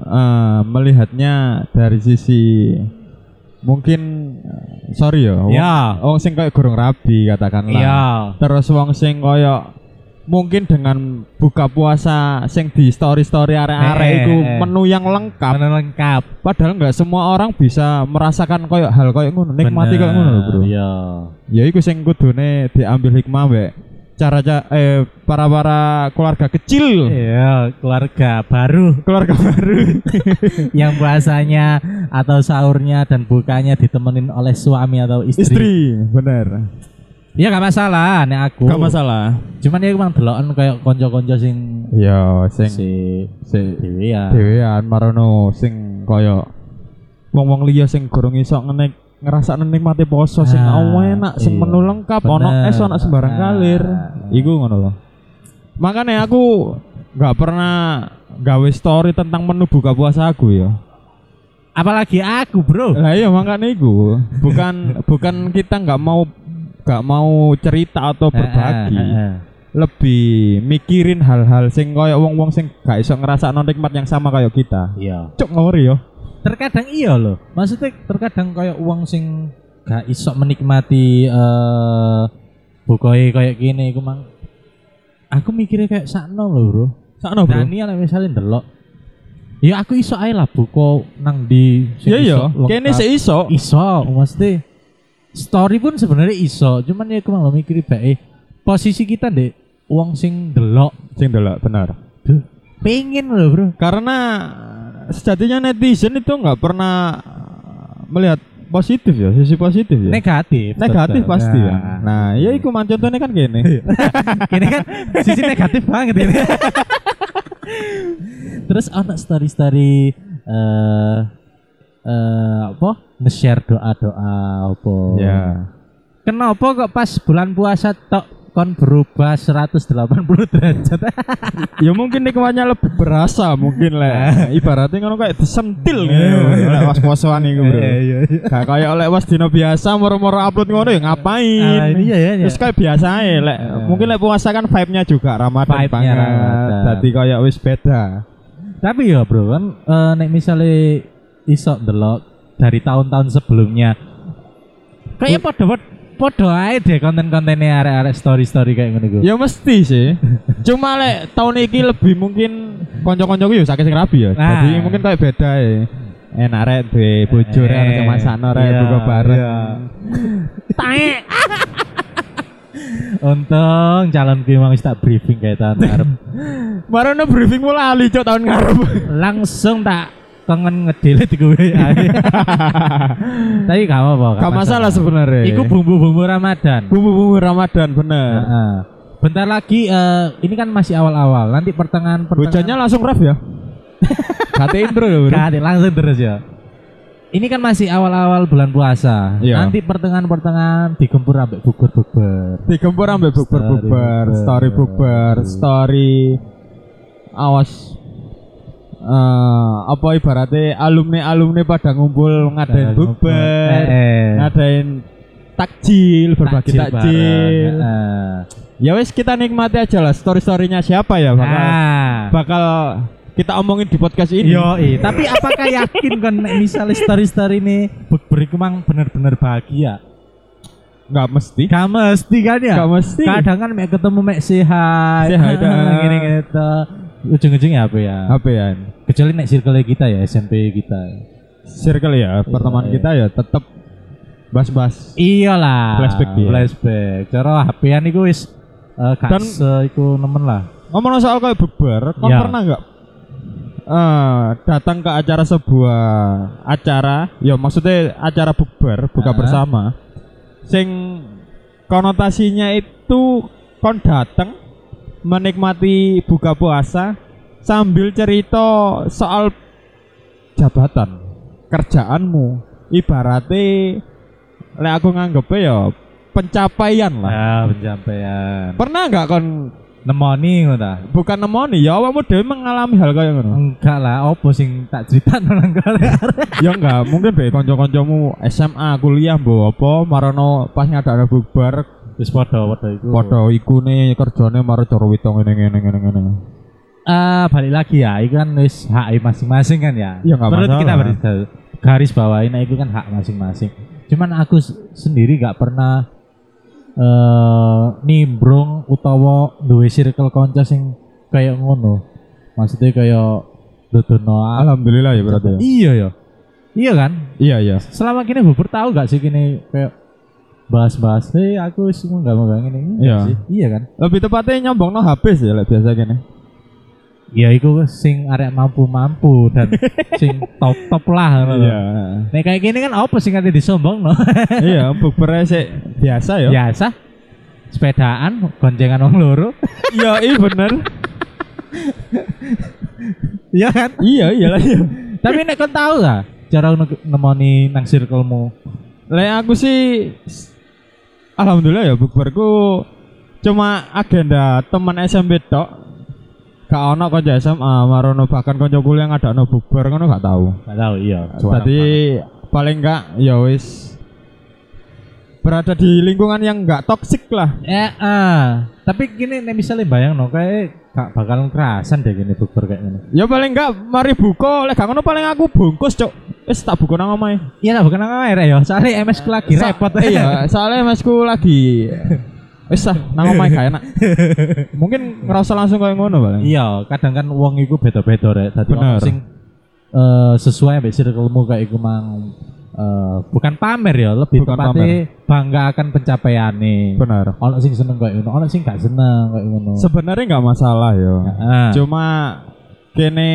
Speaker 1: eh, melihatnya dari sisi mungkin eh, sorry ya. Wong,
Speaker 2: ya
Speaker 1: wong sing kayak gorong rabi katakanlah.
Speaker 2: iya
Speaker 1: Terus wong sing koyo mungkin dengan buka puasa sing di story story arek-arek
Speaker 2: Eh,
Speaker 1: itu
Speaker 2: eh, eh.
Speaker 1: menu yang lengkap.
Speaker 2: karena lengkap
Speaker 1: Padahal nggak semua orang bisa merasakan koyo hal koyo ngono, nikmati koyo ngono lho, Bro.
Speaker 2: iya
Speaker 1: Ya iku sing kudune diambil hikmah mbek cara-cara eh para-para keluarga kecil,
Speaker 2: iya keluarga baru
Speaker 1: keluarga baru.
Speaker 2: yang puasanya atau sahurnya dan bukanya ditemenin oleh suami atau istri.
Speaker 1: istri bener
Speaker 2: Iya gak masalah nek aku.
Speaker 1: gak masalah
Speaker 2: Cuman ya emang deloken kayak konco-konco sing
Speaker 1: ya sing
Speaker 2: si
Speaker 1: sing
Speaker 2: dewe ya.
Speaker 1: dhewean marono sing koyo wong-wong liya sing gorong iso ngenek ngerasakno nikmate poso sing
Speaker 2: Ah,
Speaker 1: enak sing
Speaker 2: iya.
Speaker 1: menu lengkap ono
Speaker 2: Bener.
Speaker 1: es ono sembarang
Speaker 2: Ah.
Speaker 1: kalir iku ngono loh makanya aku nggak pernah gawe story tentang menu buka puasa aku ya
Speaker 2: Apalagi aku, Bro.
Speaker 1: lah iya makanya iku bukan bukan kita nggak mau nggak mau cerita atau berbagi
Speaker 2: Eh, eh, eh, eh.
Speaker 1: lebih mikirin hal-hal sing koyo wong-wong sing gak iso ngerasakno nikmat yang sama kayak kita.
Speaker 2: Iya.
Speaker 1: Cuk ngori yo.
Speaker 2: Terkadang iya loh. Maksudnya terkadang kayak uang sing gak iso menikmati eh bukoe kayak gini iku mang. Aku mikirnya kayak sakno loh, Bro.
Speaker 1: Sakno, Bro.
Speaker 2: Daniel misalnya ndelok Ya aku iso ae lah buka nang di sing
Speaker 1: Iya iya,
Speaker 2: iso lengkap.
Speaker 1: kene sik iso.
Speaker 2: iso mesti story pun sebenarnya iso, cuman ya aku malah mikir bae posisi kita deh uang sing delok
Speaker 1: Sing delok benar.
Speaker 2: pengen loh bro
Speaker 1: Karena sejatinya netizen itu nggak pernah melihat positif ya, sisi positif ya.
Speaker 2: negatif
Speaker 1: Negatif
Speaker 2: tetep.
Speaker 1: pasti ya.
Speaker 2: Nah, Iya.
Speaker 1: Nah, ya iku man contohnya kan gini.
Speaker 2: ini kan sisi negatif banget ini terus anak story story eh eh apa nge-share doa doa apa Oh.
Speaker 1: ya.
Speaker 2: Kenapa kok pas bulan puasa tok kon berubah 180 derajat?
Speaker 1: Ya mungkin nikmatnya lebih berasa mungkin lah. Ibaratnya ngono kayak disentil
Speaker 2: Iya,
Speaker 1: gitu.
Speaker 2: iya.
Speaker 1: Lek was-wasan iku, Bro.
Speaker 2: iya iya.
Speaker 1: Gak kayak oleh was dino biasa moro-moro upload ngono ya
Speaker 2: Ah,
Speaker 1: ngapain?
Speaker 2: iya iya. iya.
Speaker 1: Terus kayak biasa ya, lek
Speaker 2: Iya.
Speaker 1: mungkin lek puasa kan vibe-nya juga Ramadan
Speaker 2: Vibe-nya
Speaker 1: banget.
Speaker 2: Ramadan.
Speaker 1: Dadi kayak wis beda.
Speaker 2: Tapi ya bro kan eh, nek misalnya iso ndelok dari tahun-tahun sebelumnya. Kayak podo podo ae deh konten-kontennya arek-arek story-story kayak ngono iku.
Speaker 1: Ya mesti sih. Cuma lek tahun iki lebih mungkin kanca-kanca ku ya sakit sing rabi ya.
Speaker 2: Nah.
Speaker 1: Jadi mungkin kayak beda ya. Enak rek duwe bojo rek
Speaker 2: Eh,
Speaker 1: ana sing masakno rek
Speaker 2: iya,
Speaker 1: buka bareng.
Speaker 2: iya. Untung calon gue emang wis tak briefing kayak tahun ngarep.
Speaker 1: Marono briefing mula lali cok tahun ngarep.
Speaker 2: Langsung tak kangen ngedelete di gue ae. Tapi gak apa-apa.
Speaker 1: Gak masalah sebenarnya.
Speaker 2: Iku bumbu-bumbu Ramadan.
Speaker 1: bumbu-bumbu Ramadan bener.
Speaker 2: Heeh. Bentar lagi eh, ini kan masih awal-awal. Nanti pertengahan pertengahan
Speaker 1: Hujannya langsung ref ya. Kate intro ya, Bro.
Speaker 2: Kate, langsung terus ya. ini kan masih awal-awal bulan puasa.
Speaker 1: Iya.
Speaker 2: Nanti pertengahan-pertengahan digempur ambek bubur-bubur.
Speaker 1: digempur ambek bukber
Speaker 2: Story
Speaker 1: bukber
Speaker 2: bukber.
Speaker 1: story bukber story awas eh apa ibaratnya alumni alumni pada ngumpul ngadain bukber
Speaker 2: Eh, eh.
Speaker 1: ngadain takjil Nah, eh, berbagi
Speaker 2: Takjil
Speaker 1: takjil
Speaker 2: bareng, eh.
Speaker 1: ya wes kita nikmati aja lah story storynya siapa ya
Speaker 2: eh.
Speaker 1: bakal
Speaker 2: Nah.
Speaker 1: bakal kita omongin di podcast ini
Speaker 2: Yo, tapi apakah yakin kan nek misalnya story-story ini bukber iku mang bener-bener bahagia?
Speaker 1: nggak mesti
Speaker 2: Gak mesti kan ya?
Speaker 1: nggak mesti
Speaker 2: Kadang kan mek ketemu mek sehat,
Speaker 1: Sehat, ah.
Speaker 2: gini-gini gitu. Ujung-ujungnya apa ya?
Speaker 1: apa ya
Speaker 2: Kecuali nek circle kita ya, SMP kita.
Speaker 1: circle ya pertemanan
Speaker 2: iya.
Speaker 1: kita ya tetap bas-bas
Speaker 2: Iyalah.
Speaker 1: Flashback dia.
Speaker 2: Flashback. Cara HP-an iku wis eh gak
Speaker 1: Dan-
Speaker 2: se- iku nemen lah.
Speaker 1: ngomong soal kayak bukber kau
Speaker 2: Ya.
Speaker 1: pernah nggak eh, datang ke acara sebuah acara ya maksudnya acara bukber buka
Speaker 2: Ah.
Speaker 1: bersama sing konotasinya itu kon datang menikmati buka puasa sambil cerita soal jabatan kerjaanmu ibaratnya lek aku nganggepnya ya pencapaian lah
Speaker 2: Ah, pencapaian.
Speaker 1: pernah nggak kon
Speaker 2: Nemoni ngono ta?
Speaker 1: bukan nemoni ya awakmu dhewe mengalami hal kaya ngono.
Speaker 2: Enggak lah, opo sing tak cerita nang kare-kare.
Speaker 1: ya enggak, mungkin be kanca-kancamu SMA kuliah mbok apa marono pas ngadakno bubar
Speaker 2: Wis padha-padha iku.
Speaker 1: padha ikune kerjane maro cara wito ngene ngene ngene ngene.
Speaker 2: Eh, balik lagi ya, itu kan wis hak masing-masing kan ya.
Speaker 1: Ya, nggak
Speaker 2: Menurut
Speaker 1: masalah.
Speaker 2: kita baris garis bawain nah, itu kan hak masing-masing. Cuman aku s- sendiri nggak pernah eh nimbrung utawa duwe circle kanca sing kayak ngono. Maksudnya kayak dodono aku.
Speaker 1: Alhamdulillah ya berarti. ya.
Speaker 2: Iya ya. Iya kan?
Speaker 1: Iya iya.
Speaker 2: Selama kini bubur tahu nggak sih kini kayak bahas-bahas, "Hey, aku wis nggak mau ini."
Speaker 1: Iya.
Speaker 2: Iya kan?
Speaker 1: Lebih tepatnya nyombongno HP sih lek biasa kene.
Speaker 2: ya iku sing arek mampu-mampu dan sing top-top lah ngono lho.
Speaker 1: Iya.
Speaker 2: Nek kayak gini kan apa sing ada disombong no?
Speaker 1: Iya, bukber sik biasa ya.
Speaker 2: Biasa. Sepedaan, goncengan wong loro.
Speaker 1: Iya, iya bener.
Speaker 2: Iya kan?
Speaker 1: Iya iya lah iya.
Speaker 2: Tapi nek kon tau gak cara ne- nemoni nang circlemu?
Speaker 1: Lek aku sih s- alhamdulillah ya bukberku cuma agenda teman SMP tok. Gak ono kanca SMA, marono bahkan kanca kuliah ngadakno bukber ngono gak tahu.
Speaker 2: Gak tau iya.
Speaker 1: Tadi paling gak ya wis berada di lingkungan yang gak toksik lah.
Speaker 2: eh, eh. tapi gini nek misalnya bayang no kayak gak bakal kerasan deh gini bukber kayak gini.
Speaker 1: Ya paling gak mari buka, lek gak ngono paling aku bungkus, Cok. Wis tak buka nang omahe.
Speaker 2: Iya lah bukan apa ya, soalnya MS ku lagi
Speaker 1: Sa-
Speaker 2: repot ya.
Speaker 1: iya soalnya masku lagi wis lah nang omahe gak enak mungkin ngerasa langsung kayak ngono paling
Speaker 2: Iya, kadang kan wong iku beda-beda rek. Dadi
Speaker 1: Bener.
Speaker 2: ono sing eh, sesuai ambek circlemu kayak iku mang eh, bukan pamer ya, lebih
Speaker 1: Bukan
Speaker 2: tepatnya bangga akan pencapaiane.
Speaker 1: benar
Speaker 2: Ono sing seneng kayak ngono, ono sing gak seneng kayak ngono. Ah,
Speaker 1: sebenarnya nggak masalah yo
Speaker 2: Heeh.
Speaker 1: cuma kene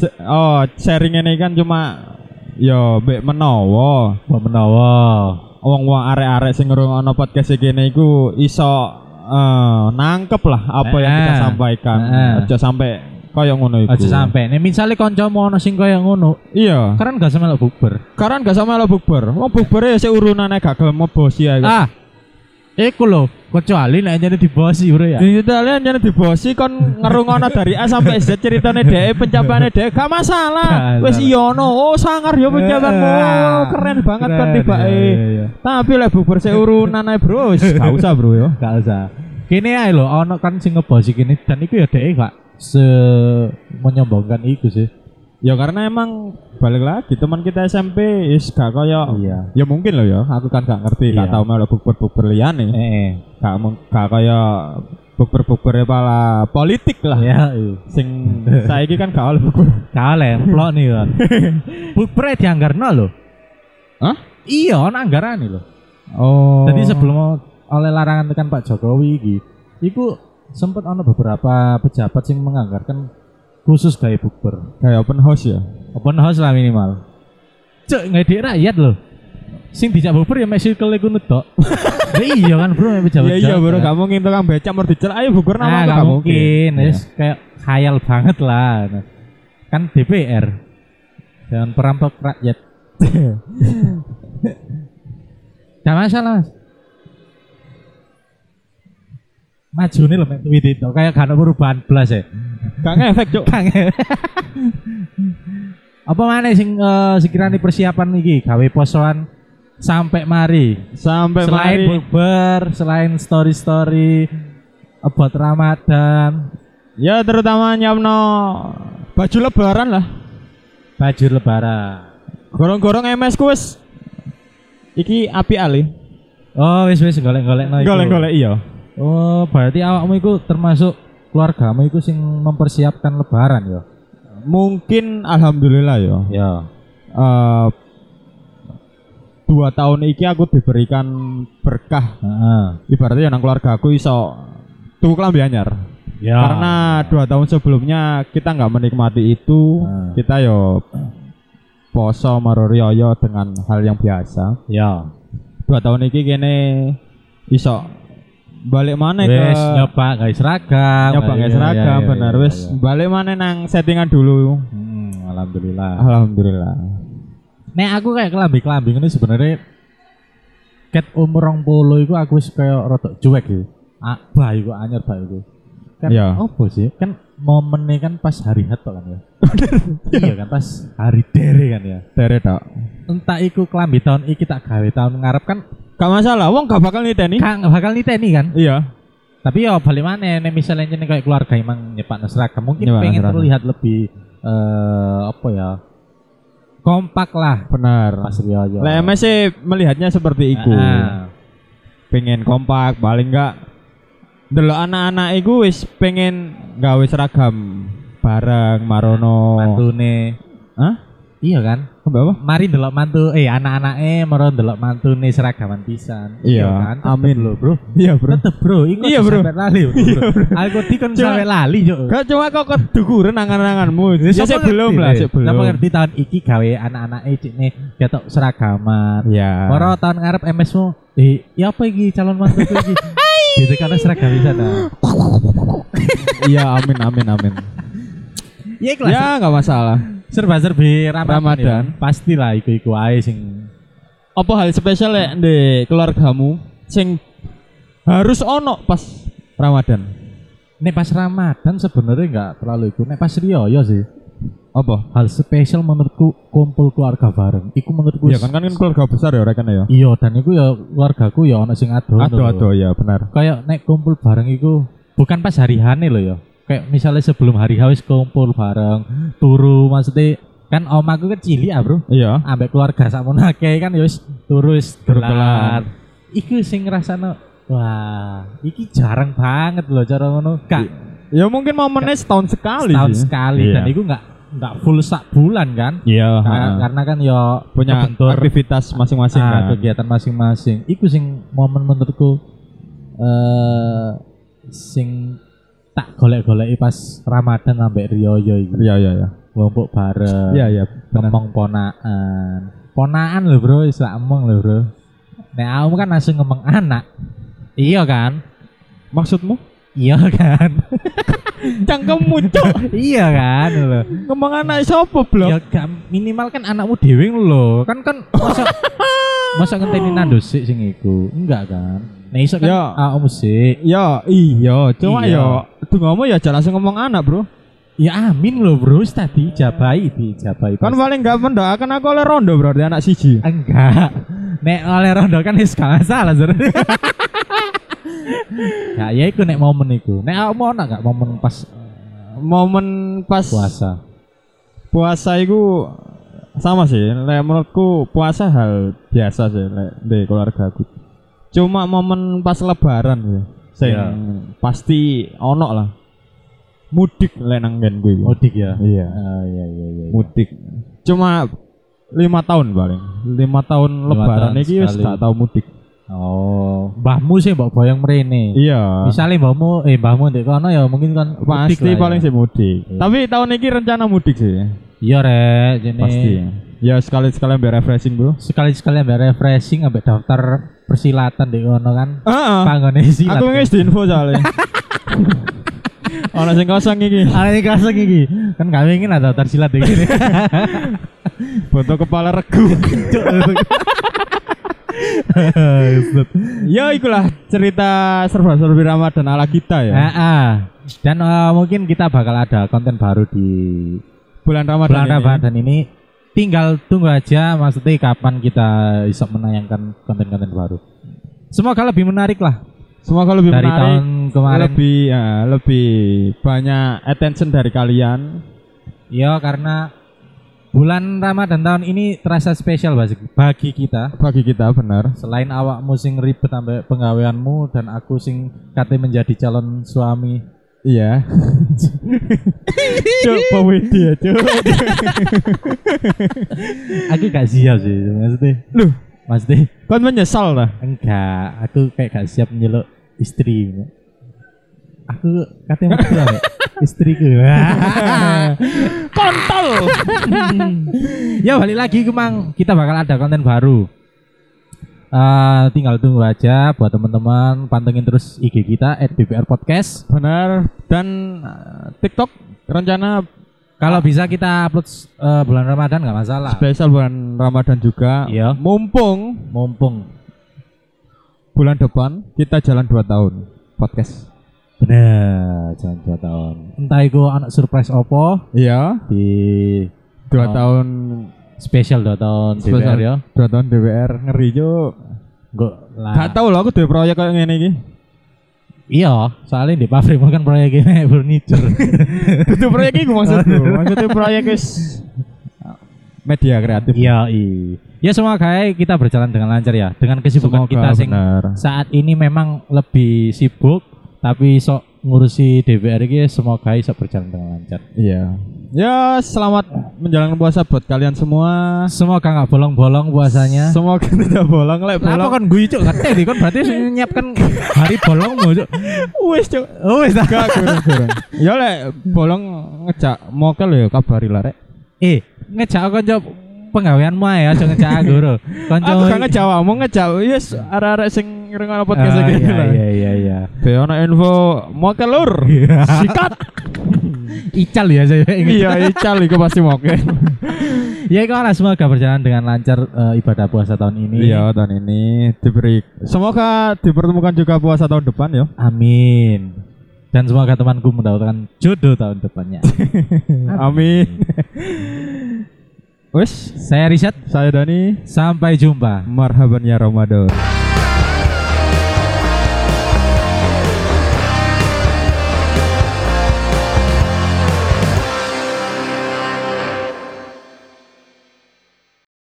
Speaker 1: ce- oh sharing ini kan cuma yo mbek menawa
Speaker 2: Mbok menawa.
Speaker 1: wong-wong arek-arek sing ngrungokno podcast iki kene iku iso eh, nangkep lah apa yang kita
Speaker 2: Eh,
Speaker 1: sampaikan
Speaker 2: eh.
Speaker 1: aja sampai kaya ngono iku
Speaker 2: Aja sampe nek misale kancamu ono sing kayak ngono,
Speaker 1: iya
Speaker 2: keren gak semelok bukber.
Speaker 1: Karena gak sama lo bukber. Wong bukber ya sik urunane gak gelem bosi ya.
Speaker 2: Ah. Iku lho, kecuali nek jadi dibosi ure ya.
Speaker 1: Di Italia jadi dibosi kon ngerungono dari A sampai Z ceritane dhek pencapaiane dhek gak masalah.
Speaker 2: Gak
Speaker 1: Wis
Speaker 2: masalah.
Speaker 1: iyono, oh sangar ya pencapaianmu. Oh, keren banget kan
Speaker 2: iya,
Speaker 1: tibake. Tapi lek bukber sik urunan ae, Bro. Wis, Gak usah, Bro ya.
Speaker 2: Gak usah. Kini ae lho ono kan sing ngebosi kini dan iku ya dhek gak se menyombongkan iku sih.
Speaker 1: Ya karena emang balik lagi teman kita SMP is gak koyo
Speaker 2: Iya.
Speaker 1: ya mungkin lo ya aku kan gak ngerti gak
Speaker 2: Iya.
Speaker 1: tau malah bukber bukber
Speaker 2: Eh.
Speaker 1: liyane
Speaker 2: eh.
Speaker 1: gak mung- gak koyo bukber bukber pala politik lah
Speaker 2: Ya, iya.
Speaker 1: sing saiki kan gak oleh bukber.
Speaker 2: Kale emplok nih kan. Bukber dianggarno lho.
Speaker 1: Hah?
Speaker 2: Iya, ono anggarane lho.
Speaker 1: Oh.
Speaker 2: Jadi sebelum oleh larangan tekan Pak Jokowi iki, iku sempat ono beberapa pejabat sing menganggarkan khusus gaya bukber.
Speaker 1: kayak open house ya.
Speaker 2: Open house lah minimal. Cuk, ngedek rakyat lho. Sing dijak bukber ya mek circle iku nutok. Lah iya kan, Bro, mek pejabat.
Speaker 1: Iya iya bro,
Speaker 2: Jawa.
Speaker 1: gak mungkin tukang becak mau dicelak ayo bukber
Speaker 2: Nah,
Speaker 1: nama
Speaker 2: gak
Speaker 1: gak
Speaker 2: mungkin.
Speaker 1: Iya.
Speaker 2: Wis kayak khayal banget lah. Nah, Kan DPR. Dewan Perampok Rakyat. Gak masalah mas. Maju nih loh main tweet itu kayak gak ada perubahan belas ya.
Speaker 1: Gak ngefek cuk.
Speaker 2: Kang. Apa mana sing eh, sekiranya persiapan iki gawe posoan sampai mari.
Speaker 1: Sampai
Speaker 2: selain
Speaker 1: mari.
Speaker 2: bukber, selain story story about Ramadan,
Speaker 1: Ya terutama nyamno baju lebaran lah.
Speaker 2: baju lebaran.
Speaker 1: Gorong-gorong MS ku wis iki api ali.
Speaker 2: Oh wis wis golek-golek no iku.
Speaker 1: Golek-golek iya.
Speaker 2: Oh, berarti awakmu itu termasuk keluargamu itu sing mempersiapkan lebaran ya.
Speaker 1: Mungkin alhamdulillah ya.
Speaker 2: Ya.
Speaker 1: Eh, dua tahun iki aku diberikan berkah.
Speaker 2: Heeh.
Speaker 1: Ibaratnya nang keluarga aku iso tuku klambi anyar.
Speaker 2: Ya.
Speaker 1: Karena dua tahun sebelumnya kita nggak menikmati itu,
Speaker 2: Hmm.
Speaker 3: Nah.
Speaker 1: kita yo poso maro rioyo dengan hal yang biasa.
Speaker 2: ya.
Speaker 1: Dua tahun ini kene iso balik mana ke
Speaker 2: Wis nyoba guys seragam.
Speaker 1: nyoba nggak
Speaker 2: Iya,
Speaker 1: seragam
Speaker 2: iya, iya,
Speaker 1: bener
Speaker 2: iya,
Speaker 1: wis
Speaker 2: iya.
Speaker 1: balik mana nang settingan dulu.
Speaker 2: Hmm, alhamdulillah.
Speaker 1: Alhamdulillah.
Speaker 2: Nek aku kayak kelambi-kelambi ini sebenarnya ket umur 20 itu aku wis kayak rada cuek gitu. Ah, bah iku anyar bah iku. Kan
Speaker 1: Iya.
Speaker 2: opo sih? Kan momennya kan pas hari hat kan ya. iya kan pas hari dere kan ya.
Speaker 1: Dari dok.
Speaker 2: entah iku kelambi tahun iki tak gawe tahun ngarep kan
Speaker 1: Gak masalah, wong gak bakal niteni.
Speaker 2: kan bakal niteni kan
Speaker 1: Iya.
Speaker 2: tapi ya balik mana nek misalnya jeneng kayak keluarga emang nyepak seragam mungkin
Speaker 1: Nyepakno
Speaker 2: pengen
Speaker 1: Iya, seragam.
Speaker 2: terlihat lebih eh apa ya kompak lah
Speaker 1: Bener.
Speaker 2: Mas Rioyo
Speaker 1: Lah MS sih melihatnya seperti iku.
Speaker 2: Ah,
Speaker 1: pengen kompak paling enggak delok anak-anak iku wis pengen gawe seragam bareng marono
Speaker 2: mantune
Speaker 1: Hah?
Speaker 2: iya kan
Speaker 1: Mbak apa?
Speaker 2: mari ndelok mantu eh anak-anake maro ndelok mantune seragaman pisan
Speaker 1: Iya,
Speaker 2: kan Tetep
Speaker 1: amin.
Speaker 2: lho bro
Speaker 1: Iya, Bro.
Speaker 2: tetep bro iku
Speaker 1: Iya, bro.
Speaker 2: sampe lali bro, bro. aku dikon
Speaker 1: Cuma- Kan
Speaker 2: sampe lali yo
Speaker 1: Gak cuma kok kedukur angan-anganmu. Ya sih belum lah, sih belum.
Speaker 2: Napa ngerti tahun iki gawe anak-anak e cik nih ketok seragaman.
Speaker 1: Ya.
Speaker 2: Moro tahun ngarep MS mu, eh, ya apa iki calon mantu iki? Gitu karena seragam di sana.
Speaker 1: Iya, amin amin amin.
Speaker 2: Ya iku lah,
Speaker 1: ya, enggak masalah.
Speaker 2: serba-serbi Ramadan.
Speaker 1: Ramadan.
Speaker 2: ya. Pastilah iku-iku ae sing
Speaker 1: Apa hal spesial ya di keluargamu sing harus ono pas Ramadan?
Speaker 2: Nek pas Ramadan sebenarnya nggak terlalu iku. Nek pas Rioyo sih.
Speaker 1: Apa?
Speaker 2: Hal spesial menurutku kumpul keluarga bareng. Iku menurutku
Speaker 1: Iya kan kan kan keluarga besar ya rekan ya.
Speaker 2: Iya, dan iku ya keluargaku ya ana sing adoh.
Speaker 1: Aduh
Speaker 2: lho.
Speaker 1: aduh ya benar.
Speaker 2: kayak naik kumpul bareng itu bukan pas hari hane loh ya kayak misalnya sebelum hari H wis kumpul bareng turu maksudnya kan omaku kan cilik ah bro
Speaker 1: Iya.
Speaker 2: ambek keluarga sama nake kan ya wis turu wis
Speaker 1: Turu
Speaker 2: gelar iku sing ngrasano wah iki jarang banget loh cara ngono gak
Speaker 1: Ya mungkin momennya setahun sekali
Speaker 2: setahun
Speaker 1: sih.
Speaker 2: sekali
Speaker 1: Iya.
Speaker 2: dan iku nggak nggak full sak bulan kan
Speaker 1: Iya,
Speaker 2: Karena-
Speaker 1: ha.
Speaker 2: karena kan ya
Speaker 1: punya
Speaker 2: kebentur
Speaker 1: aktivitas masing-masing
Speaker 2: Ah,
Speaker 1: kan.
Speaker 2: kegiatan masing-masing. Iku sing momen menurutku eh sing tak golek-goleki pas Ramadan sampai Rioyo iki.
Speaker 1: Iya iya iya.
Speaker 2: Kelompok bareng,
Speaker 1: Iya iya.
Speaker 2: ngomong ponaan. Ponaan lho, Bro, wis tak emong lho, Bro. Nek aku kan langsung ngomong anak. Iya kan?
Speaker 1: Maksudmu?
Speaker 2: Iya kan?
Speaker 1: Cangkemmu cok
Speaker 2: iya kan lho.
Speaker 1: ngomong anak sopo blok.
Speaker 2: Ya gak- minimal kan anakmu dhewe lho. Kan kan masa masa ngenteni nandus sih sing iku. Enggak kan? Nah iso kan
Speaker 1: Ya.
Speaker 2: ah, om sih.
Speaker 1: Ya iya, cuma
Speaker 2: Iya.
Speaker 1: ya tunggu ya jangan langsung ngomong anak, Bro.
Speaker 2: Ya amin loh bro, wis tadi jabai dijabai.
Speaker 1: Kan
Speaker 2: Pas-
Speaker 1: paling gak mendoakan aku oleh rondo berarti anak siji.
Speaker 2: enggak. Nek oleh rondo kan wis gak masalah Sur. ya ya iku nek momen iku. Nek awakmu ono gak momen pas
Speaker 1: Momen pas
Speaker 2: puasa?
Speaker 1: puasa itu sama sih. Lek menurutku puasa hal biasa sih lek di keluarga aku. Cuma momen pas lebaran sih. Sing
Speaker 3: Iya.
Speaker 1: pasti ono lah. Mudik lek nang nggen gue.
Speaker 2: Mudik ya.
Speaker 1: Iya.
Speaker 2: Oh iya iya iya. iya.
Speaker 1: mudik cuma lima tahun paling lima tahun
Speaker 2: Lima
Speaker 1: lebaran
Speaker 2: tahun
Speaker 1: ini wis
Speaker 2: sekali.
Speaker 1: gak tau mudik
Speaker 2: Oh, mbahmu sih mbok boyong mrene.
Speaker 1: iya
Speaker 2: Misalnya mbahmu eh mbahmu ndek kono ya mungkin kan mudik
Speaker 1: pasti
Speaker 2: lah ya.
Speaker 1: paling sih mudik
Speaker 2: Iya.
Speaker 1: tapi tahun ini rencana mudik sih
Speaker 2: Iya rek, jene
Speaker 1: pasti ya sekali sekali biar refreshing bro
Speaker 2: sekali-sekali ambek refreshing ambek daftar persilatan ndek kono kan.
Speaker 1: Heeh.
Speaker 2: Panggone silat.
Speaker 1: aku
Speaker 2: kan.
Speaker 1: ngis di info soalnya orang sing kosong iki
Speaker 2: Nah, Ada yang kosong iki. Kan kami ingin ada tersilat iki.
Speaker 1: Foto kepala regu. ya ikulah cerita serba-serbi Ramadan ala kita ya.
Speaker 2: Ah, ah. Dan eh, mungkin kita bakal ada konten baru di
Speaker 1: Bulan Ramadan.
Speaker 2: bulan
Speaker 1: ini. ya.
Speaker 2: Ramadan ini. Tinggal tunggu aja maksudnya kapan kita bisa menayangkan konten-konten baru. Semoga lebih menarik lah
Speaker 1: Semoga lebih
Speaker 2: dari
Speaker 1: menarik.
Speaker 2: tahun kemarin.
Speaker 1: Lebih ya, lebih banyak attention dari kalian.
Speaker 2: Ya karena bulan Ramadan tahun ini terasa spesial bagi, bagi kita.
Speaker 1: Bagi kita benar.
Speaker 2: Selain awakmu sing ribet sampai penggaweanmu dan aku sing kate menjadi calon suami.
Speaker 1: Iya. Cuk, pawedi ya, Cuk.
Speaker 2: Aku gak siap sih maksudnya.
Speaker 1: Loh.
Speaker 2: Maksudnya
Speaker 1: Kan menyesal lah.
Speaker 2: enggak, aku kayak gak siap nyeluk istri. Aku katanya mau pulang, ya. istriku.
Speaker 1: Kontol.
Speaker 2: ya balik lagi ke Mang, kita bakal ada konten baru. Eh, tinggal tunggu aja buat teman-teman pantengin terus IG kita @bpr podcast.
Speaker 1: benar dan eh, TikTok rencana
Speaker 2: Kalau bisa kita upload eh, bulan Ramadan nggak masalah.
Speaker 1: spesial bulan Ramadan juga.
Speaker 2: Iya.
Speaker 1: Mumpung
Speaker 2: Mumpung.
Speaker 1: bulan depan kita jalan 2 tahun podcast.
Speaker 2: Bener, jangan dua tahun. Entah itu anak surprise opo
Speaker 1: Iya,
Speaker 2: di
Speaker 1: 2
Speaker 2: Oh.
Speaker 1: tahun
Speaker 2: spesial dua tahun
Speaker 1: Spesial.
Speaker 2: DPR ya.
Speaker 1: 2 tahun DWR ngeri yo.
Speaker 2: Enggak lah.
Speaker 1: Gak tau loh aku duwe proyek kayak ngene iki.
Speaker 2: Iya, soalnya di pabrik kan proyek ini furniture.
Speaker 1: Itu proyek iki maksudku. Maksudnya proyek wis media kreatif.
Speaker 2: Iya, iya. Ya semoga kayak kita berjalan dengan lancar ya. Dengan kesibukan kita sing
Speaker 1: benar.
Speaker 2: saat ini memang lebih sibuk tapi sok ngurusi DPR ini ya, semoga iso berjalan dengan lancar.
Speaker 1: Iya. Ya, selamat menjalankan puasa buat kalian semua.
Speaker 2: Semoga nggak bolong-bolong puasanya.
Speaker 1: Semoga tidak bolong lek
Speaker 2: Lah,
Speaker 1: bolong.
Speaker 2: kan gue cuk ngerti nih, kan berarti menyiapkan hari bolong mau cuk.
Speaker 1: Wes, Cuk.
Speaker 2: Oh wis
Speaker 1: Gak kurang-kurang. Ya lek bolong ngejak mokel ya kabari lah rek.
Speaker 2: Eh, ngejak kanca penggaweanmu ae aja ngejak aku bro. Kanca
Speaker 1: Aku kangen Jawa, mau ngejak yes arek-arek sing ngrungokno podcast
Speaker 2: Ah,
Speaker 1: iki.
Speaker 2: iya,
Speaker 1: lah.
Speaker 2: iya iya iya.
Speaker 1: Be ono info mokel lur. Sikat.
Speaker 2: Ical ya saya ingat.
Speaker 1: Iya, ical iku pasti mokel.
Speaker 2: Ya iku lah semoga berjalan dengan lancar eh, ibadah puasa tahun ini.
Speaker 1: Iya, tahun ini diberi semoga dipertemukan juga puasa tahun depan ya.
Speaker 2: Amin. Dan semoga temanku mendapatkan jodoh tahun depannya.
Speaker 1: Amin. Wes,
Speaker 2: Saya Rizat,
Speaker 1: saya Dani.
Speaker 2: sampai jumpa.
Speaker 1: Marhaban ya Ramadan.